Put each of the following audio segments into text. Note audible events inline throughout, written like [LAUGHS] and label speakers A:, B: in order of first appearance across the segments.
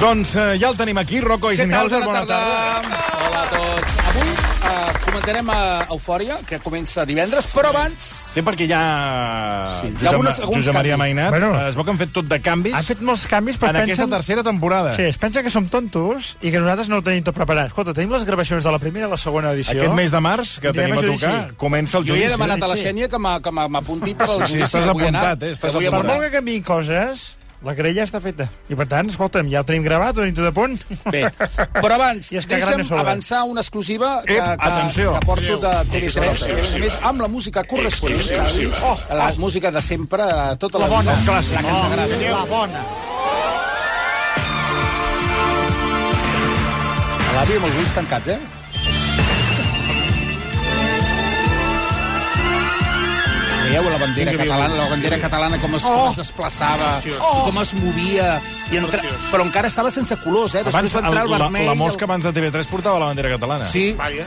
A: Doncs eh, ja el tenim aquí, Rocco Eisenhauser, bona tarda.
B: Hola a tots. Avui eh, comentarem eh, Eufòria, que comença divendres, però abans...
A: Sí, perquè ja...
B: Sí, hi ha
A: Josep,
B: algunes-
A: Ma-
B: alguns
A: Josep Maria
B: canvis.
A: Mainat, bueno,
C: Bueno.
A: es veu que han fet tot de canvis
C: Ha fet molts canvis,
A: en
C: però es
A: aquesta
C: pensen...
A: tercera temporada.
C: Sí, es pensa que som tontos i que nosaltres no ho tenim tot preparat. Escolta, tenim les gravacions de la primera i la segona edició.
A: Aquest mes de març, que tenim
C: Anirem
A: a
C: a
A: tocar,
C: judici.
A: comença el
B: Jo hi
A: judici.
B: he demanat a la
C: sí.
B: Xènia que m'ha- que m'ha- m'apunti per al
A: Sí,
B: judici
A: estàs
B: que vull anar.
A: apuntat, eh, estàs
B: Que vull
C: Per
A: apuntat.
C: molt
B: apuntar.
C: que canviïn coses, la querella està feta. I per tant, escolta'm, ja ho tenim gravat, ho tenim tot a punt.
B: Bé, però abans,
C: I és que gran
B: deixa'm
C: és sobre.
B: avançar una exclusiva que,
A: Ep,
B: que,
A: atenció.
B: que porto de TV3, i a més a més amb la música corresponent, oh, la música de sempre, eh, tota la, la bona, la que ens agrada.
D: La bona.
B: A l'àvia amb els ulls tancats, eh? Veieu la bandera catalana, la bandera catalana com es, com es desplaçava, oh. com es movia, i entra... però encara estava sense colors, eh? Després
A: Abans,
B: va entrar
A: el,
B: el
A: la,
B: vermell...
A: la mosca abans de TV3 portava la bandera catalana.
B: El... Sí,
E: Vària,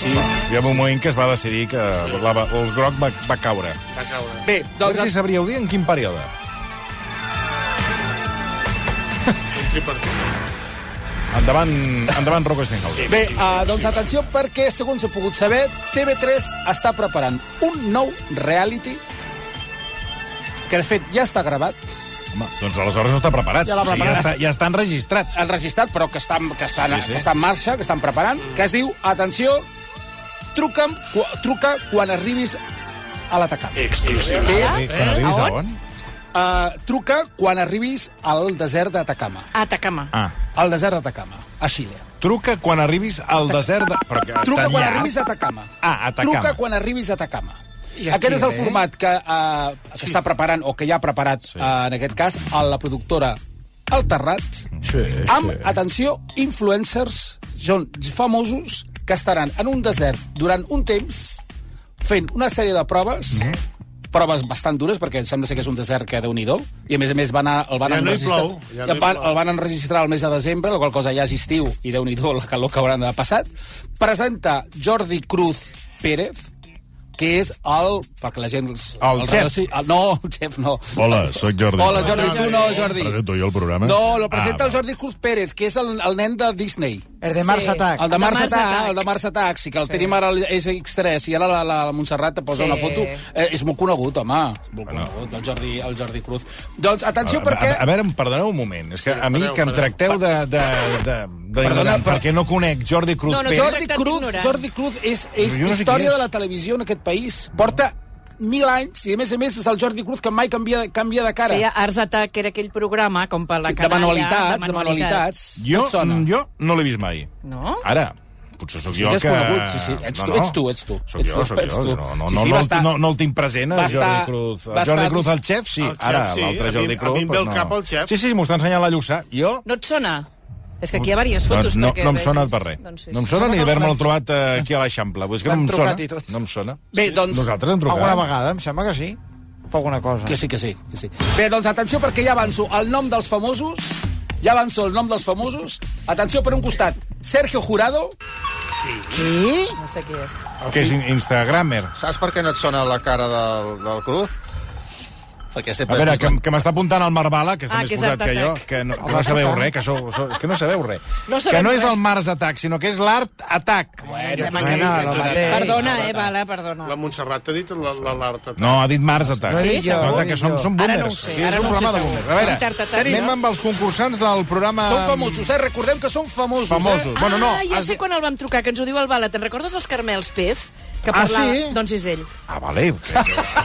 B: sí.
A: Hi ha un moment que es va decidir que la, va- el groc va, va caure.
E: va caure.
B: Bé,
A: Doncs
B: doncs...
A: si sabríeu dir en quin període.
E: Un tripartit.
A: Endavant, endavant Rocco Eisenhauser.
B: Bé, uh, doncs atenció, perquè, segons he pogut saber, TV3 està preparant un nou reality que, de fet, ja està gravat,
A: Home, doncs aleshores no està preparat.
B: Ja l'ha
A: ja,
B: preparat.
A: està, ja està enregistrat.
B: enregistrat, però que està, que està,
A: Sí,
B: sí,
A: sí.
B: sí. que està en marxa, que estan preparant, que es diu, atenció, truca'm, cu, truca quan arribis a l'atacant.
E: Exclusiva.
B: Que és,
A: Sí, quan arribis
D: a
A: a
D: on?
A: on?
B: uh, truca quan arribis al desert d'Atacama.
D: Atacama.
A: Ah,
B: Al desert d'Atacama, a Xile.
A: truca quan arribis al desert de... Però que
B: Truca
A: tan
B: quan
A: llarg.
B: arribis a Atacama.
A: Ah, Atacama.
B: Truca quan arribis a Atacama.
C: I
B: Aquest
C: aquí,
B: és el
C: eh?
B: format que, uh, que està preparant, o que ja ha preparat, sí. uh, en aquest cas, a la productora El Terrat,
C: Sí,
E: Eh,
B: amb, atenció, influencers, són famosos, que estaran en un desert durant un temps fent una sèrie de proves, mm -hmm proves bastant dures, perquè sembla ser que és un desert que déu nhi i a més a més van a, el van
E: Ja no hi
B: enregistrar...
E: plou, ja no hi
B: van,
E: plou.
B: el van enregistrar el mes de desembre, la qual cosa ja és estiu, i déu nhi la calor que hauran de passat. Presenta Jordi Cruz Pérez, que és el... perquè la gent... Els,
A: El
B: els
A: xef.
B: relaci- el- no, el xef no.
F: Hola, sóc Jordi.
B: Hola, Jordi, tu no, Jordi.
F: Presento jo el programa?
B: No, lo presenta
F: Ah,
B: el Jordi Cruz Pérez, que és el, el nen de Disney.
D: El de Mars
G: Sí.
D: Attack.
B: Ah, El de Mars Attack, el de Mars Attack, sí, que el tenim ara és X3, i ara la, la, la Montserrat te posa
G: Sí.
B: una foto. Eh, és molt conegut, home, és molt
F: Bueno.
B: conegut, el Jordi, el Jordi Cruz. Doncs atenció,
A: A,
B: perquè...
A: a, a veure, em perdoneu un moment. És que a mi
E: perdoneu,
A: que em
E: perdoneu.
A: tracteu de... de, de, de
B: Perdona,
A: ignorant,
B: però-
A: perquè no conec Jordi Cruz
G: No, no,
A: Pérez.
B: Jordi
G: Tractat
B: Cruz,
G: d'ignorant.
B: Jordi Cruz és, és
A: Jo no sé qui
B: història
A: és.
B: de la televisió en aquest país. Porta mil anys, i a més a més és el Jordi Cruz que mai canvia, canvia de cara.
G: Feia Arts Attack, que era aquell programa com per la
B: de
G: canalla...
B: manualitats, de manualitats.
A: Jo,
B: Et sona?
A: jo no l'he vist mai.
G: No?
A: Ara, potser sóc
B: Sí,
A: jo
B: t'has
A: que...
B: conegut, sí, sí. Ets tu, ets tu, ets tu.
A: Sóc jo,
B: Ets tu,
A: sóc
B: ets
A: jo.
B: tu.
A: No, no,
B: Sí,
A: no,
B: sí,
A: no,
B: va
A: el-
B: estar-
A: no, no el tinc present,
B: va
A: el Jordi
B: estar-
A: Cruz.
B: va
A: El Jordi
B: estar-
A: Cruz, el xef, sí.
E: El xef,
A: Ara,
E: sí.
A: l'altre
E: A mi-
A: Jordi
E: a
A: Cruz.
E: mi em ve
A: però
E: el
A: no.
E: cap el xef.
A: Sí, sí, m'ho està ensenyant la Lluçà. Jo...
G: No et sona? És que aquí hi ha diverses
A: Doncs
G: fotos.
A: no,
G: perquè
A: no em
G: vegis.
A: sona, per res.
G: Doncs sí,
A: No em
G: sí.
A: sona ni d'haver-me'l trobat eh, aquí a l'Eixample. Vull dir que no
D: L'han
A: em sona.
D: trucat i tot.
A: No em sona.
B: Bé, doncs,
A: Nosaltres hem trucat.
D: Alguna vegada, em sembla que sí. O alguna
C: Ah.
D: cosa.
B: Que sí, que sí, que sí. Bé, doncs atenció, perquè ja avanço el nom dels famosos. Ja avanço el nom dels famosos. Atenció, per un costat, Sergio Jurado.
D: Qui?
G: No sé qui és.
A: Que és in- Instagrammer.
H: Saps per què no et sona la cara del, del Cruz? Perquè
A: A
H: sempre...
A: veure, que, que m'està apuntant el Marbala, que està
G: Ah,
A: més
G: que és
A: posat que jo,
G: Art Attack.
A: que no, que no sabeu res, que sou, sou, és que no sabeu res.
G: No
A: que
G: sabem
A: no és
G: res.
A: del Mars Attack, sinó que és l'Art Attack.
G: Josep
D: Bueno,
G: Maria.
D: el mateix.
G: Perdona, eh, Vala, perdona.
E: La Montserrat t'ha dit la- la- l'art.
A: No, ha dit Mars Attack.
D: No he dit
A: Sí,
D: jo,
A: Nota
D: ho he
A: que
D: dit
A: som,
D: jo.
A: som
G: Ara
A: boomers.
G: no ho sé,
A: Aquí és
G: ara
A: un
G: no ho
A: programa de
G: sé segur.
A: boomers. A veure,
G: Art Attack,
A: anem
G: no?
A: amb els concursants del programa...
B: Són famosos, eh? Recordem que són famosos,
A: Famosos.
B: eh?
A: Bueno, no,
G: ah, ja
A: has
G: sé
A: dit-
G: quan el vam trucar, que ens ho diu el Bala. Te'n recordes dels Carmels Pez? Que
A: Ah,
G: parlava...
A: sí?
G: Doncs és ell.
A: Ah, vale.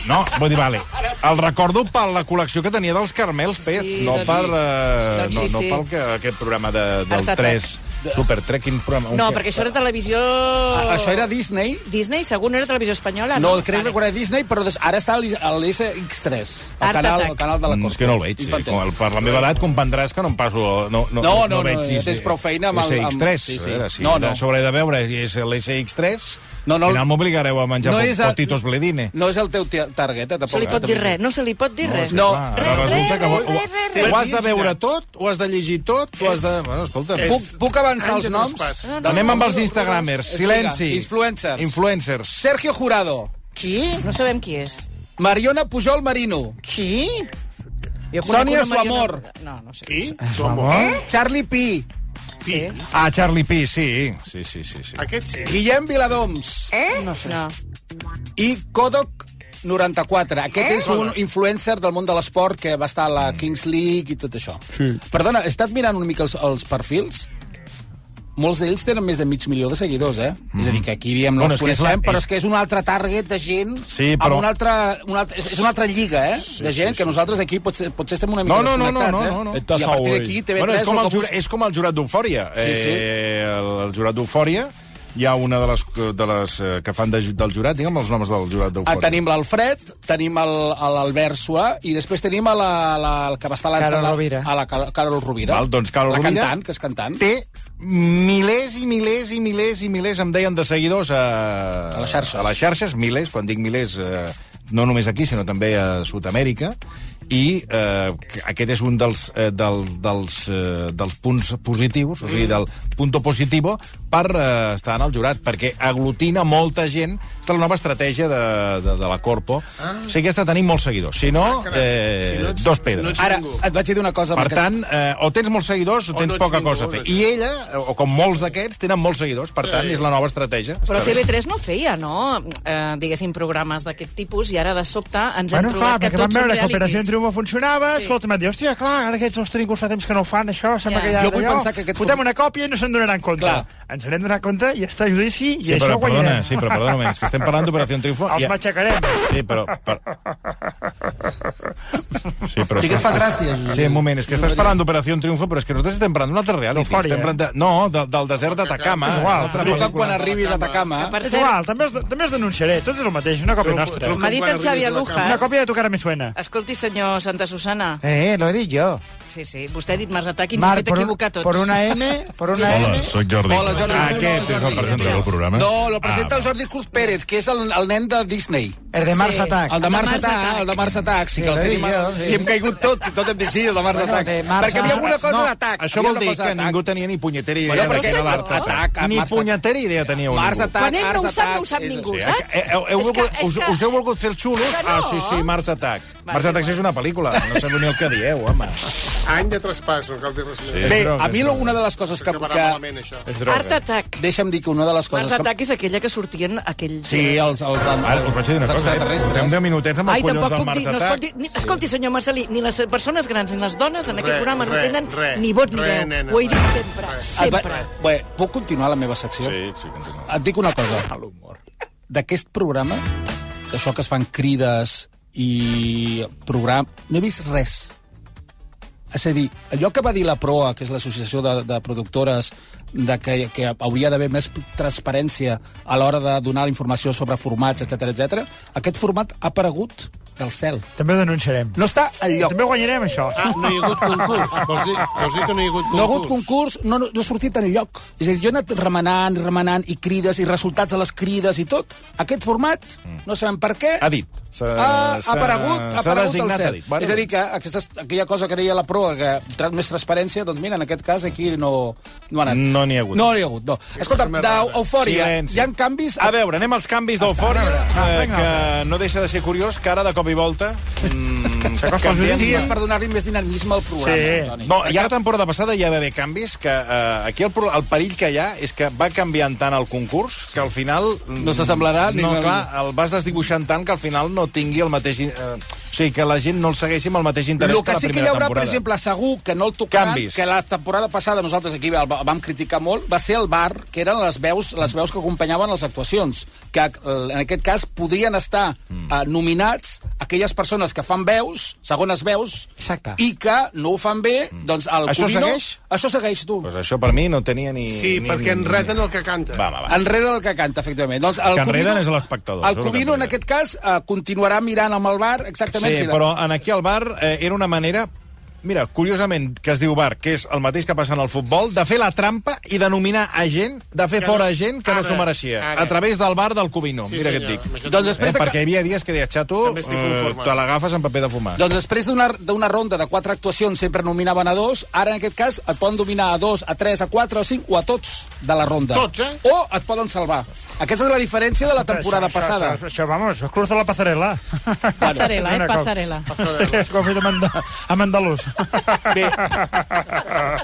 A: No, vull dir, vale. El recordo per la col·lecció que tenia dels Carmels Pez,
G: Sí,
A: no
G: doncs-
A: per... Eh,
G: doncs sí,
A: no, no
G: sí.
A: pel que, aquest programa de,
G: Art
A: del
G: Attack.
A: 3, Super Trek, quin programa...
G: No,
A: Un-
G: perquè això era televisió...
B: A- Ah, Això era Disney.
G: Disney, segur, Oh. Ah, no era televisió espanyola?
B: No, el crec
G: Vale.
B: recordar Disney, però des- ara està a l'SX3, el,
G: Art
B: canal,
G: Attack.
B: el canal de la
A: Mm,
B: Corte.
A: és que no el veig. Sí.
B: Infantil.
A: Com el, per la meva edat comprendràs que no em passo... No, no,
B: No, no, no,
A: veig
B: no,
A: si-
B: tens prou feina amb el- amb-
A: SX3, sí,
B: sí, sí.
A: sí. Veure, si
B: No,
A: no,
B: no.
A: no. sobre he de veure si és l'SX3, no,
B: No, no,
A: no, final m'obligareu a menjar
B: no
A: no
B: és el-
A: potitos bledine.
B: No és el teu tia- target, eh?
G: Se
B: Tampoc.
G: li pot dir res, no se li pot dir res.
B: No.
A: Clar, ara
G: Re,
A: resulta
G: re,
A: que ho,
G: re, re,
A: ho,
G: re.
A: ho has de veure tot, ho has de llegir tot, ho has de... Bueno, escolta,
B: Puc, puc avançar els
E: Àngel
B: noms?
E: Espas.
G: No, no,
A: Anem
G: no,
A: amb els
G: no,
A: Instagramers.
B: Explica.
A: Silenci.
B: Influencers.
A: Influencers.
B: Sergio Jurado,
D: Qui?
G: No sabem qui és.
B: Mariona Pujol Marino,
D: Qui?
G: Jo conec
B: Sònia
G: una Mariona-
B: Suamor.
G: No, no sé.
E: Qui? Su amor.
B: Charlie Pi,
G: Sí?
A: Ah, Eh? Charlie P, sí. Sí, sí, sí. sí.
E: Aquest sí.
B: Guillem Viladoms
D: No sé.
G: No.
B: i Kodok 94. Aquest és un influencer del món de l'esport que va estar a la Kings League i tot això. Sí. Perdona, he estat mirant una mica els, els perfils? Molts d'ells tenen més de mig milió de seguidors, eh? Mm. És a dir, que aquí diem, no
A: Bueno,
B: bueno,
A: és
B: els
A: que és
B: coneixem,
A: la-
B: però
A: és-
B: és que és un altre target de gent...
A: Sí, però-
B: Amb una altra, una altra, és és una altra lliga, eh? Sí, de gent, sí, sí. que nosaltres aquí potser, potser estem una mica
A: No, no, no, no,
B: desconnectats,
A: no,
B: eh?
A: no, no.
B: I a partir d'aquí, TV3...
A: Bueno, és, com el,
B: el
A: jur, és com el jurat d'Eufòria.
B: Sí, sí.
A: Eh, el, el jurat d'Eufòria hi ha una de les, de les eh, que fan de, ju- del jurat, digue'm els noms del jurat
B: Ah,
A: d'Eufòria.
B: tenim l'Alfred, tenim el- a l'Albert Suà i després tenim a la, la, el que va estar a la,
D: Carol
B: la-
D: Rovira.
B: A la Car- Carol Rovira.
A: Val, doncs Carol
B: la
A: Rovira
B: cantant, que és cantant.
A: Té milers i milers i milers i milers, em deien, de seguidors a,
B: A les xarxes.
A: A les xarxes, milers, quan dic milers, eh, no només aquí, sinó també a Sud-amèrica, i eh, que- aquest és un dels, eh, del, dels, eh, dels punts positius, o
E: Mm.
A: sigui, del punto positivo, per eh, estar en el jurat, perquè aglutina molta gent. Aquesta és la nova estratègia de, de, de la Corpo. Ah. O sigui, aquesta tenim molts seguidors. Si no,
E: caram.
A: eh,
E: Ah, Si no ets-
A: dos pedres.
E: no ets
B: Ara,
E: ningú.
B: et vaig dir una cosa.
A: Per
B: perquè-
A: tant, eh, o tens molts seguidors o
E: O
A: tens
E: no ets
A: poca
E: ningú,
A: cosa a fer.
E: no
A: I
E: ets-
A: ella, o com molts d'aquests, tenen molts seguidors. Per tant,
E: Sí.
A: és la nova estratègia.
G: Però
A: Està bé.
G: TV3 no feia, no? Eh, diguéssim, programes d'aquest tipus, i ara de sobte ens hem
C: Bueno,
G: trobat
C: clar,
G: que
C: perquè
G: tots
C: vam veure que
G: són
C: Operació
G: realities.
C: Triunfo funcionava,
G: Sí.
C: sí. escolta, m'han dit, hòstia, clar, ara aquests els tringos fa temps que no ho fan, això, sembla
G: Ja.
C: que ja...
B: Jo vull
C: d'allò,
B: pensar que aquest
C: Fotem
B: for-
C: una còpia i no se'n donaran compte.
B: Clar.
C: Ens n'hem donat compte i està a judici i
A: Sí,
C: això
A: però, perdona,
C: guanyarem.
A: sí, però perdona, un moment, és que estem parlant d'Operació Triunfo.
C: Els
A: i-
C: matxacarem.
A: Sí, però... Per... Sí, però...
B: Sí que et fa gràcia.
A: Sí, un moment, és que estàs parlant d'Operació Triunfo, però és que nosaltres estem parlant d'un altre reality.
C: Eufòria.
A: Estem parlant de... No, de, del desert d'Atacama.
E: És
C: igual,
A: Altra
B: Truca'm
A: pel·lícula.
B: quan arribis a Atacama.
G: Ah, Per
C: És
G: cert,
C: igual, també els, també els denunciaré, tot és el mateix, una còpia
E: Truco-
C: nostra.
E: truco
G: M'ha dit
E: quan
G: el Xavi
E: arribis a la
G: Aluja.
E: cama.
C: Una còpia de tu cara me suena.
G: escolti, senyor Santa Susana.
D: Eh, lo he dit jo.
G: Sí, sí, vostè ha dit Mars Atac i ens hem
D: Marc,
G: fet
D: por, un-
G: equivocar tots.
D: por una M, por una
A: Eh?
D: M...
F: sóc Jordi.
B: Hola, Jordi.
A: Ah, Aquest és el presentador del programa.
B: No, lo
A: Ah,
B: presenta el Jordi Cruz Pérez, que és el, el nen de Disney.
D: El de Mars
G: Sí.
D: Attack.
B: El de Mars Attack, el de Mars Attack, sí que el
D: Sí,
B: tenim...
D: jo, sí.
B: I hem caigut tots, i tot hem dit sí, el de Mars
D: Bueno,
B: Attack.
D: de Mars
B: Perquè hi havia alguna cosa
D: no,
B: d'atac.
A: Això
B: hi havia
A: vol
B: una
A: dir
B: cosa
A: que
B: d'atac.
A: ningú tenia ni punyetera idea
B: Bueno,
A: de
G: perquè-
A: què era l'art.
B: Atac, a
A: Ni
B: Mars-
A: punyetera idea teníeu.
B: Mars
A: ningú.
B: Attack,
G: Quan ell no ho
B: Mars
G: sap, no ho
B: Attack,
G: sap
B: és-
G: ningú,
A: Sí,
G: saps?
A: eh, heu, heu,
G: És que-
A: volgut,
G: és
A: us,
G: que-
A: us heu volgut fer els xulos?
G: Que no.
A: Ah, sí, sí, Mars Attack.
G: Va,
A: Mars
G: sí,
A: Attack
G: va.
A: és una pel·lícula, no sabeu ni el que dieu, home.
B: eh?
E: Any de traspàs, no cal dir res més.
B: Bé,
A: droga,
B: a mi
A: és droga.
B: una de les coses que...
E: Acabarà
B: que
E: malament, això.
A: És
G: Art Attack.
B: deixa'm dir que una de les
G: Mars
B: coses que...
G: Attack és aquella que sortien aquells...
B: Sí, els... els, els
A: Ara, us vaig Ah, dir una
B: els
A: cosa, eh?
B: extraterrestres.
A: Portem 10 minutets amb els
G: Ai,
A: collons
G: tampoc
A: del
G: puc dir,
A: Mars
G: no es pot
A: Attack.
G: dir... Ni, escolti, senyor Marcelí, ni les persones grans ni les dones en aquest
E: Re,
G: programa no
E: re,
G: tenen
E: re,
G: ni vot ni
E: re,
G: veu.
E: nena,
G: Ho he dit
E: re.
G: sempre,
B: Et va-
G: sempre.
B: Bé, puc continuar la meva secció?
A: Sí, sí, continua.
B: Et dic una cosa. A l'humor. D'aquest programa, d'això que es fan crides i programa... No he vist res. És a dir, allò que va dir la PROA, que és l'associació de, de productores, de que, que hauria d'haver més transparència a l'hora de donar la informació sobre formats, etc etc. aquest format ha aparegut del cel.
C: També ho denunciarem.
B: No està al lloc.
C: També guanyarem, això.
E: Ah, no hi ha hagut concurs. Vols dir, vols dir que no hi ha hagut concurs?
B: No ha hagut concurs, no, no, no ha sortit en lloc. És a dir, jo he anat remenant, remenant, i crides, i resultats de les crides i tot. Aquest format, no sabem per què...
A: Mm. Ha dit. S'ha-
B: Ha, Ah, ha
A: s'ha-
B: aparegut, ha
A: s'ha
B: aparegut al
A: designat, ha
B: cel.
A: dit. Bueno,
B: és a dir, que aquesta, aquella cosa que deia la proa, que tra- més transparència, doncs mira, en aquest cas aquí no, no ha anat.
A: No n'hi ha hagut.
B: No n'hi ha hagut, no. Escolta,
E: cosa més rara.
B: d'eufòria,
A: Silenci.
B: hi ha canvis...
A: A veure, anem als canvis d'eufòria, eh, que no deixa de ser curiós, que ara de cop i volta... Mm,
C: S'acosta el
A: canviem-
B: Sí, és per donar-li més dinamisme al programa,
C: Sí.
B: Toni.
A: No, ja la temporada passada hi va haver canvis que eh, aquí el, pro- el perill que hi ha és que va canviant tant el concurs que al final... mm,
B: No s'assemblarà ni
A: No,
B: una-
A: clar, el vas desdibuixant tant que al final no tingui el mateix... in- Eh, o sigui, que la gent no el segueixi amb el mateix interès
B: El
A: que
B: que
A: la
B: sí que hi
A: primera
B: haurà,
A: temporada.
B: per exemple, segur que no el tocaran,
A: Canvis.
B: que la temporada passada nosaltres aquí el va- vam criticar molt, va ser el bar, que eren les veus, les veus que acompanyaven les actuacions, que eh, en aquest cas podrien estar
A: Mm.
B: eh, nominats aquelles persones que fan veus, segones veus,
D: Exacte.
B: i que no ho fan bé, doncs el
A: Mm. Això
B: Codino...
A: segueix?
B: Això segueix, tu.
A: Pues això per mi no tenia ni...
E: Sí,
A: ni,
E: perquè
A: ni-
E: enreden el que canta.
A: Va, va, va.
B: Enreden el que canta, efectivament. Doncs el
A: Que enreden
B: Covino-
A: és l'espectador,
B: El
A: això és el que
B: Covino, en
A: enreden.
B: aquest cas, eh, continuarà mirant amb el bar exactament...
A: Sí,
B: si la-
A: però en aquí al bar eh, era una manera... Mira, curiosament, que es diu bar, que és el mateix que passa en el futbol, de fer la trampa i de nominar a gent, de fer
E: Que no-
A: fora gent que no
E: ara,
A: s'ho mereixia.
E: ara.
A: A través del bar del Covino.
E: Sí,
A: Mira
E: senyor,
A: què et dic.
E: amb això
B: Doncs
A: Eh,
E: també.
B: després de que-
A: perquè hi havia dies que deia, xato,
E: També estic
A: eh,
E: conforme.
A: te l'agafes en paper de fumar.
B: Doncs després d'una d'una ronda de quatre actuacions sempre nominaven a dos, ara en aquest cas et poden dominar a dos, a tres, a quatre, a cinc o a tots de la ronda.
E: Tots, eh?
B: O et poden salvar. Aquesta és la diferència de la temporada
C: això,
B: passada.
C: Això, això, vamos, cruza la passarel·la.
G: Passarel·la, eh?
C: Una cosa.
G: Passarel·la.
C: [LAUGHS] Com he fet amb, Anda- amb
B: [LAUGHS]
C: Andalús.
B: Bé. A,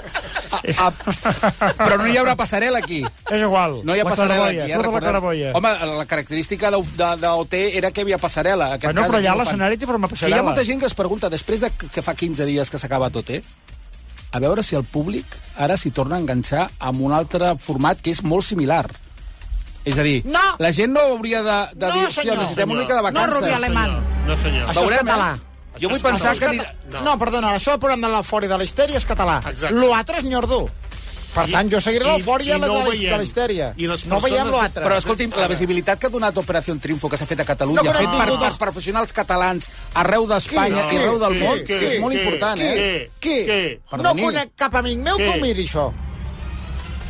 B: a, però no hi haurà passarel·la aquí.
C: És igual.
B: No hi ha
C: la
B: passarel·la aquí,
C: claraboia,
B: eh?
C: cruza la
B: recordem.
C: claraboia.
B: Home, la característica d'OT era que hi havia passarel·la. En Aquest
C: bueno, però
B: aquí
C: allà
B: no fan.
C: l'escenari té forma
B: Que hi
C: passarel·la.
B: ha molta gent que es pregunta, després de que fa 15 dies que s'acaba tot, eh? A veure si el públic ara s'hi torna a enganxar amb un altre format que és molt similar. És a dir,
D: No.
B: la gent no hauria de, de
D: No,
B: dir,
D: senyor.
B: necessitem
E: No,
B: una mica de
D: senyor. No,
B: vacances.
D: Rubià, alemán.
E: No, senyor.
D: Això és
B: Veurem,
D: català.
B: eh? Jo vull
E: Això és
B: pensar
D: Això és
B: que...
D: cata-
B: anirà-
E: no.
D: No, perdona, això del programa de l'eufòria de la histèria és català.
E: Exacte.
D: L'altre és nyordú. Per
E: I-
D: tant, jo seguiré
E: i-
D: l'eufòria
E: i
D: de,
E: no
D: la-
E: ho veiem.
D: de la histèria.
E: I les
D: No
E: persones-
D: veiem l'altre.
B: Però, escolti'm, la visibilitat que ha donat Operació Triunfo, que s'ha fet a Catalunya,
D: No, però
B: fet per,
D: ningú
B: per
D: dels-
B: professionals catalans arreu d'Espanya
D: Qui?
B: i arreu del
D: Qui?
B: món,
D: Qui?
B: és molt
E: Qui?
B: important,
E: Qui?
B: eh?
D: Qui?
E: Què?
D: No
B: Perdoni.
D: conec cap amic meu que
E: Què?
D: ho miri, això.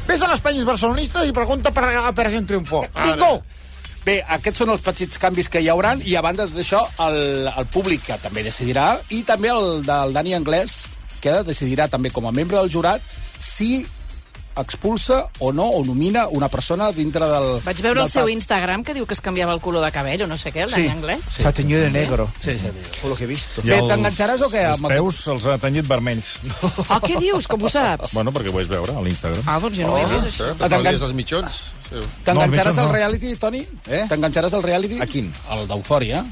D: Ves a les penyes barcelonistes i pregunta per a Operació Triunfo.
E: Ara.
D: Ningú.
B: Bé, aquests són els petits canvis que hi hauran i a banda d'això el, el públic que també decidirà i també el del Dani Anglès que decidirà també com a membre del jurat si expulsa o no o nomina una persona dintre del...
G: Vaig veure
B: del
G: el seu
B: pa-
G: Instagram que diu que es canviava el color de cabell o no sé què, el
B: Sí,
G: sí. anglès.
B: sí.
G: Sí.
D: S'ha teñido de negro,
B: Sí, sí.
D: por lo que he visto.
B: Bé, Doncs t'enganxaràs o què?
A: Els
B: amb aquest-
A: peus se'ls ha tenyit vermells.
G: Oh, què dius? Com ho saps?
A: bueno, perquè ho vaig veure a l'Instagram.
G: Ah, doncs jo no ho he vist, això.
H: Eh? Pensava que és els mitjons. Sí.
B: T'enganxaràs
C: No,
B: al
C: no.
B: reality, Toni?
A: Eh?
B: T'enganxaràs al reality?
A: A quin?
B: Al d'Eufòria.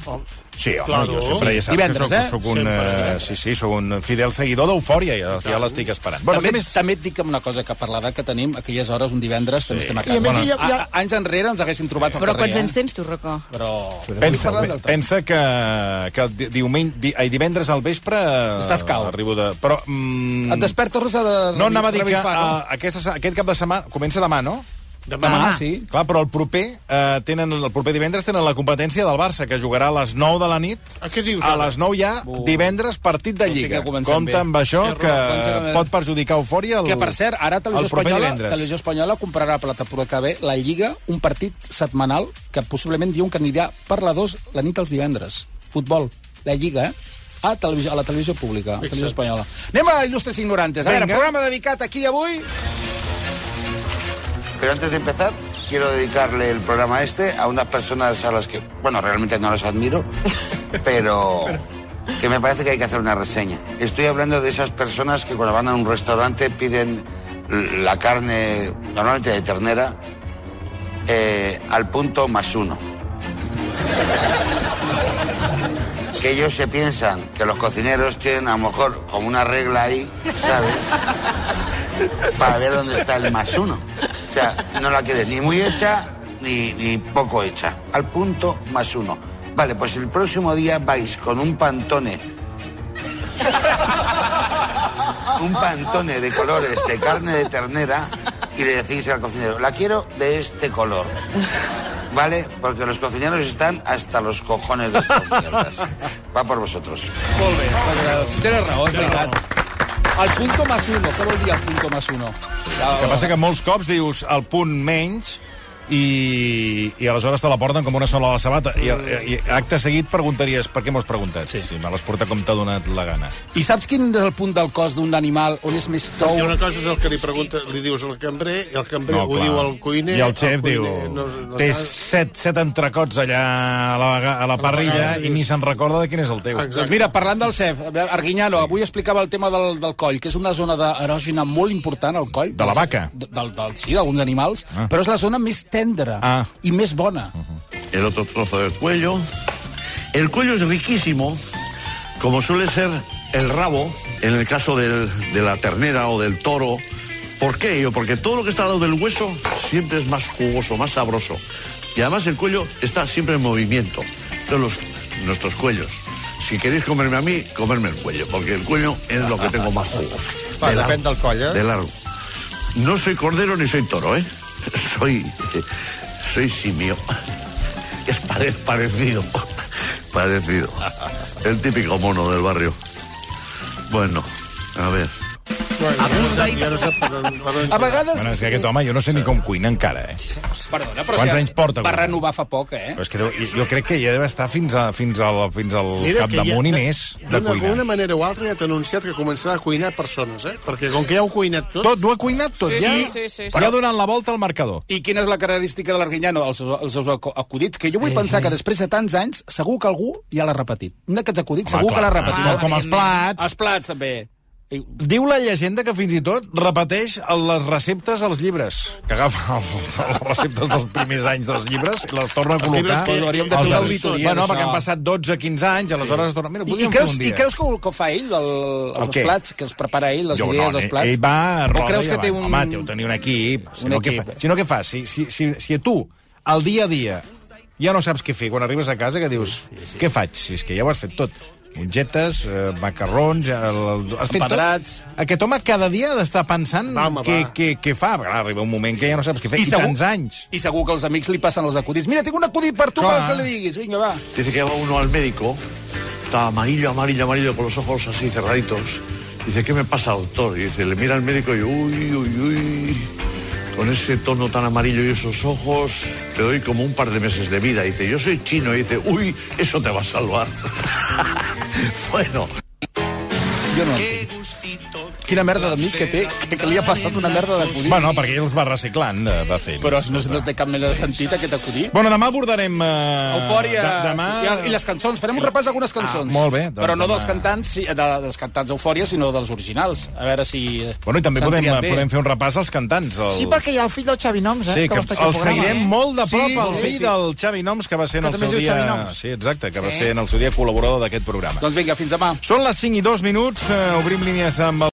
A: Sí, home, jo
E: Claro.
A: sempre ja saps
B: Divendres,
A: que
B: eh?
A: soc, soc un, eh? Sí, sí, soc un fidel seguidor d'Eufòria, ja, ja l'estic esperant.
B: Bueno, també,
A: què
B: més... també et dic que amb una cosa, que per l'edat que tenim, aquelles hores, un divendres, també estem a casa.
D: I a més, hi ha- hi ha-
B: A- a- Anys enrere ens haguessin trobat al
G: Però
B: carrer,
G: quants
B: eh?
G: anys tens tu, Rocó?
B: Però...
A: Pensa,
B: Vull parlar del temps.
A: pensa que, que di- diumenge, di, ai, divendres al vespre... eh,
B: Estàs cau.
A: Arribo de... Però... Mm,
B: Et despertes rosa de...
A: No, anava a dir que ah,
B: revifar,
A: a, aquesta, se- aquest cap de setmana... Comença demà, no?
B: no?
E: Demà.
B: Demà, Ah. sí.
A: Clar, però el proper, eh, tenen, el proper divendres tenen la competència del Barça, que jugarà a les 9 de la nit.
B: Ah,
E: A Ah, què dius?
A: A
E: ara?
A: les 9 ja,
B: Bu.
A: divendres, partit de
B: Doncs sí que
A: Lliga.
B: comencem
A: Compte
B: bé.
A: amb això,
B: Té raó,
A: que
B: comencem bé.
A: pot perjudicar eufòria el,
B: Que, per cert, ara
A: el
B: Televisió
A: proper
B: Espanyola,
A: divendres.
B: Televisió Espanyola comprarà per la temporada que ve la Lliga un partit setmanal que possiblement diuen que anirà per la 2 la nit dels divendres. Futbol, la Lliga, eh? A, televisió, a la televisió pública, a la televisió espanyola. Anem a il·lustres ignorantes. A veure,
A: Vinga.
B: programa dedicat aquí avui...
F: Pero antes de empezar, quiero dedicarle el programa este a unas personas a las que, bueno, realmente no las admiro, pero que me parece que hay que hacer una reseña. Estoy hablando de esas personas que cuando van a un restaurante piden l- la carne, normalmente de ternera, eh, al punto más uno. Que ellos se piensan que los cocineros tienen a lo mejor como una regla ahí, ¿sabes? para ver dónde está el más uno. O sea, no la quede ni muy hecha ni, ni poco hecha. Al punto más uno. Vale, pues el próximo día vais con un pantone. Un pantone de colores de carne de ternera y le decís al cocinero, la quiero de este color. ¿Vale? Porque los cocineros están hasta los cojones de estas mierdas. Va por vosotros.
B: Tienes raó, és veritat. El punto más uno. Què vol dir el punto más uno?
A: El que passa que molts cops dius el punt menys i, i aleshores te la porten com una sola a la sabata. I, i acte seguit preguntaries per què m'ho has preguntat. Sí. Si me l'has portat com t'ha donat la gana.
B: I saps quin és el punt del cos d'un animal on és més tou?
E: I una cosa és el que li pregunta, li dius al cambrer, i el cambrer
A: No,
E: ho
A: clar.
E: diu al cuiner...
A: I el xef diu...
E: cuiner
A: No,
E: no
A: té
E: està-
A: set, set entrecots allà a la, vega- a la parrilla
E: vegada
A: i ni se'n recorda de quin és el teu.
E: Exacte.
B: Doncs mira, parlant del CEF, Arguiñano, avui explicava el tema del, del coll, que és una zona d'erògena molt important, el coll. Doncs,
A: De la vaca.
B: De- Del, del, sí, d'alguns animals,
A: Ah.
B: ah. però és la zona més tendra
A: Ah. Uh-huh.
B: i més bona. Uh -huh.
I: el otro trozo del cuello. El cuello es riquísimo, como suele ser el rabo, en el caso del- de la ternera o del toro. ¿Por qué ello? Porque todo lo que está dado del hueso siempre es más jugoso, más sabroso. Y además el cuello está siempre en movimiento. Entonces los- nuestros cuellos. Si queréis comerme a mí, comerme el cuello, porque el cuello es lo que tengo más jugoso.
H: Va,
I: De largo,
H: depèn del coll, eh?
I: De largo. No soy cordero ni soy toro, ¿eh? [LAUGHS] Soy, soy simio. Es pare- parecido. Parecido. El típico mono del barrio. Bueno, a ver.
E: Abusa i... Ja no sap per on, per on
B: A vegades...
A: Doncs, Bueno, és que aquest home jo no sé ni com cuina encara, eh?
B: Perdona, però
A: Quants
B: si
A: anys porta,
B: Va
A: Gordó?
B: renovar fa poc, eh?
A: Però és que deu, jo- jo crec que ja deu estar fins, a, fins, al, fins al capdamunt i més de
E: D'una
A: cuinar.
E: manera o altra ja t'ha anunciat que començarà a cuinar persones, eh? Perquè com que ja ho cuinat tot...
A: Tot, ho ha cuinat tot,
G: Sí,
A: ja.
G: sí, sí, sí, sí.
A: Però ha donat la volta al marcador.
B: I quina és la característica de l'Arguinyano, els, seus- els seus acu- acudits? Que jo vull pensar que després de tants anys, segur que algú ja l'ha repetit. Un d'aquests acudits segur que l'ha repetit.
A: Com, com els plats.
B: Els plats, també. I-
A: Diu la llegenda que fins i tot repeteix les receptes als llibres, que agafa els, les receptes dels primers anys dels llibres i les torna a
E: Els llibres
A: col·locar.
E: que-
A: als
E: hauríem de fer una
A: darrers.
B: auditoria,
A: Bueno,
B: d'això.
A: perquè han passat 12-15 anys, aleshores es torna... Mira,
B: I, i,
A: podríem
B: creus,
A: fer un
B: I
A: dia.
B: creus que, el que fa ell, el,
A: El
B: els
A: què?
B: plats, que els prepara ell, les
A: Jo,
B: idees,
A: no,
B: els
A: ell-
B: plats?
A: Ell va a roda
B: o creus
A: i
B: que té
A: avant.
B: un...
A: Home, té tenir un equip. Si,
B: Un
A: no,
B: equip.
A: Què fa, si no, què fas? Si, si, si, si tu, al dia a dia, ja no saps què fer, quan arribes a casa, que dius, què faig? Si és que ja ho has fet tot. Mongetes, eh, macarrons... El, el, has fet
B: Empedrats.
A: Tot. Aquest home cada dia ha d'estar pensant
E: Va, home,
A: què,
E: va.
A: què, què fa. Clar, arriba un moment que ja no saps què fer. I,
B: I segur-
A: tants anys.
B: I segur que els amics li passen els acudits. Mira, tinc un acudit per tu,
A: Clar.
B: Clar. que li diguis. Vinga, va.
I: Dice que va uno al médico, está amarillo, amarillo, amarillo, con los ojos así cerraditos. Dice, ¿qué me pasa, doctor? Y dice, le mira al médico y, uy, uy, uy, con ese tono tan amarillo y esos ojos, te doy como un par de meses de vida. Y dice, yo soy chino. Y dice, uy, eso te va a salvar. [LAUGHS] bueno,
B: Jo no entenc. Quina merda d'amic que té, que, que li ha passat una merda d'acudit.
A: Bueno, perquè ell els va reciclant, eh, va fent.
B: Però no, no té cap mena de sentit, aquest acudit.
A: Bueno, demà abordarem... Eh,
B: Ah, Eufòria.
A: de- Demà...
B: I- I les cançons. Farem un repàs d'algunes cançons.
A: Ah, molt bé, doncs
B: Però no
A: demà.
B: dels cantants, sí, de, dels cantants d'Eufòria, sinó dels originals. A veure si... eh,
A: Bueno, i també
B: s'han
A: podem,
B: triat bé.
A: podem fer un repàs als cantants. Els...
D: Sí, perquè hi ha el fill del Xavi Noms, eh?
A: Sí, que
D: va
A: el
D: estar aquí al programa. eh?
A: seguirem molt de prop,
B: Sí,
A: el
B: sí,
A: fill
B: sí.
A: del Xavi Noms, que va ser en
D: Que
A: el
D: també
A: seu
D: es diu
A: dia...
D: Xavi Noms.
A: Sí, exacte, que va
G: Sí.
A: ser en el seu dia col·laborador d'aquest programa.
B: Doncs vinga, fins demà.
A: Són les 5 i 2 minuts, eh, obrim línies amb el...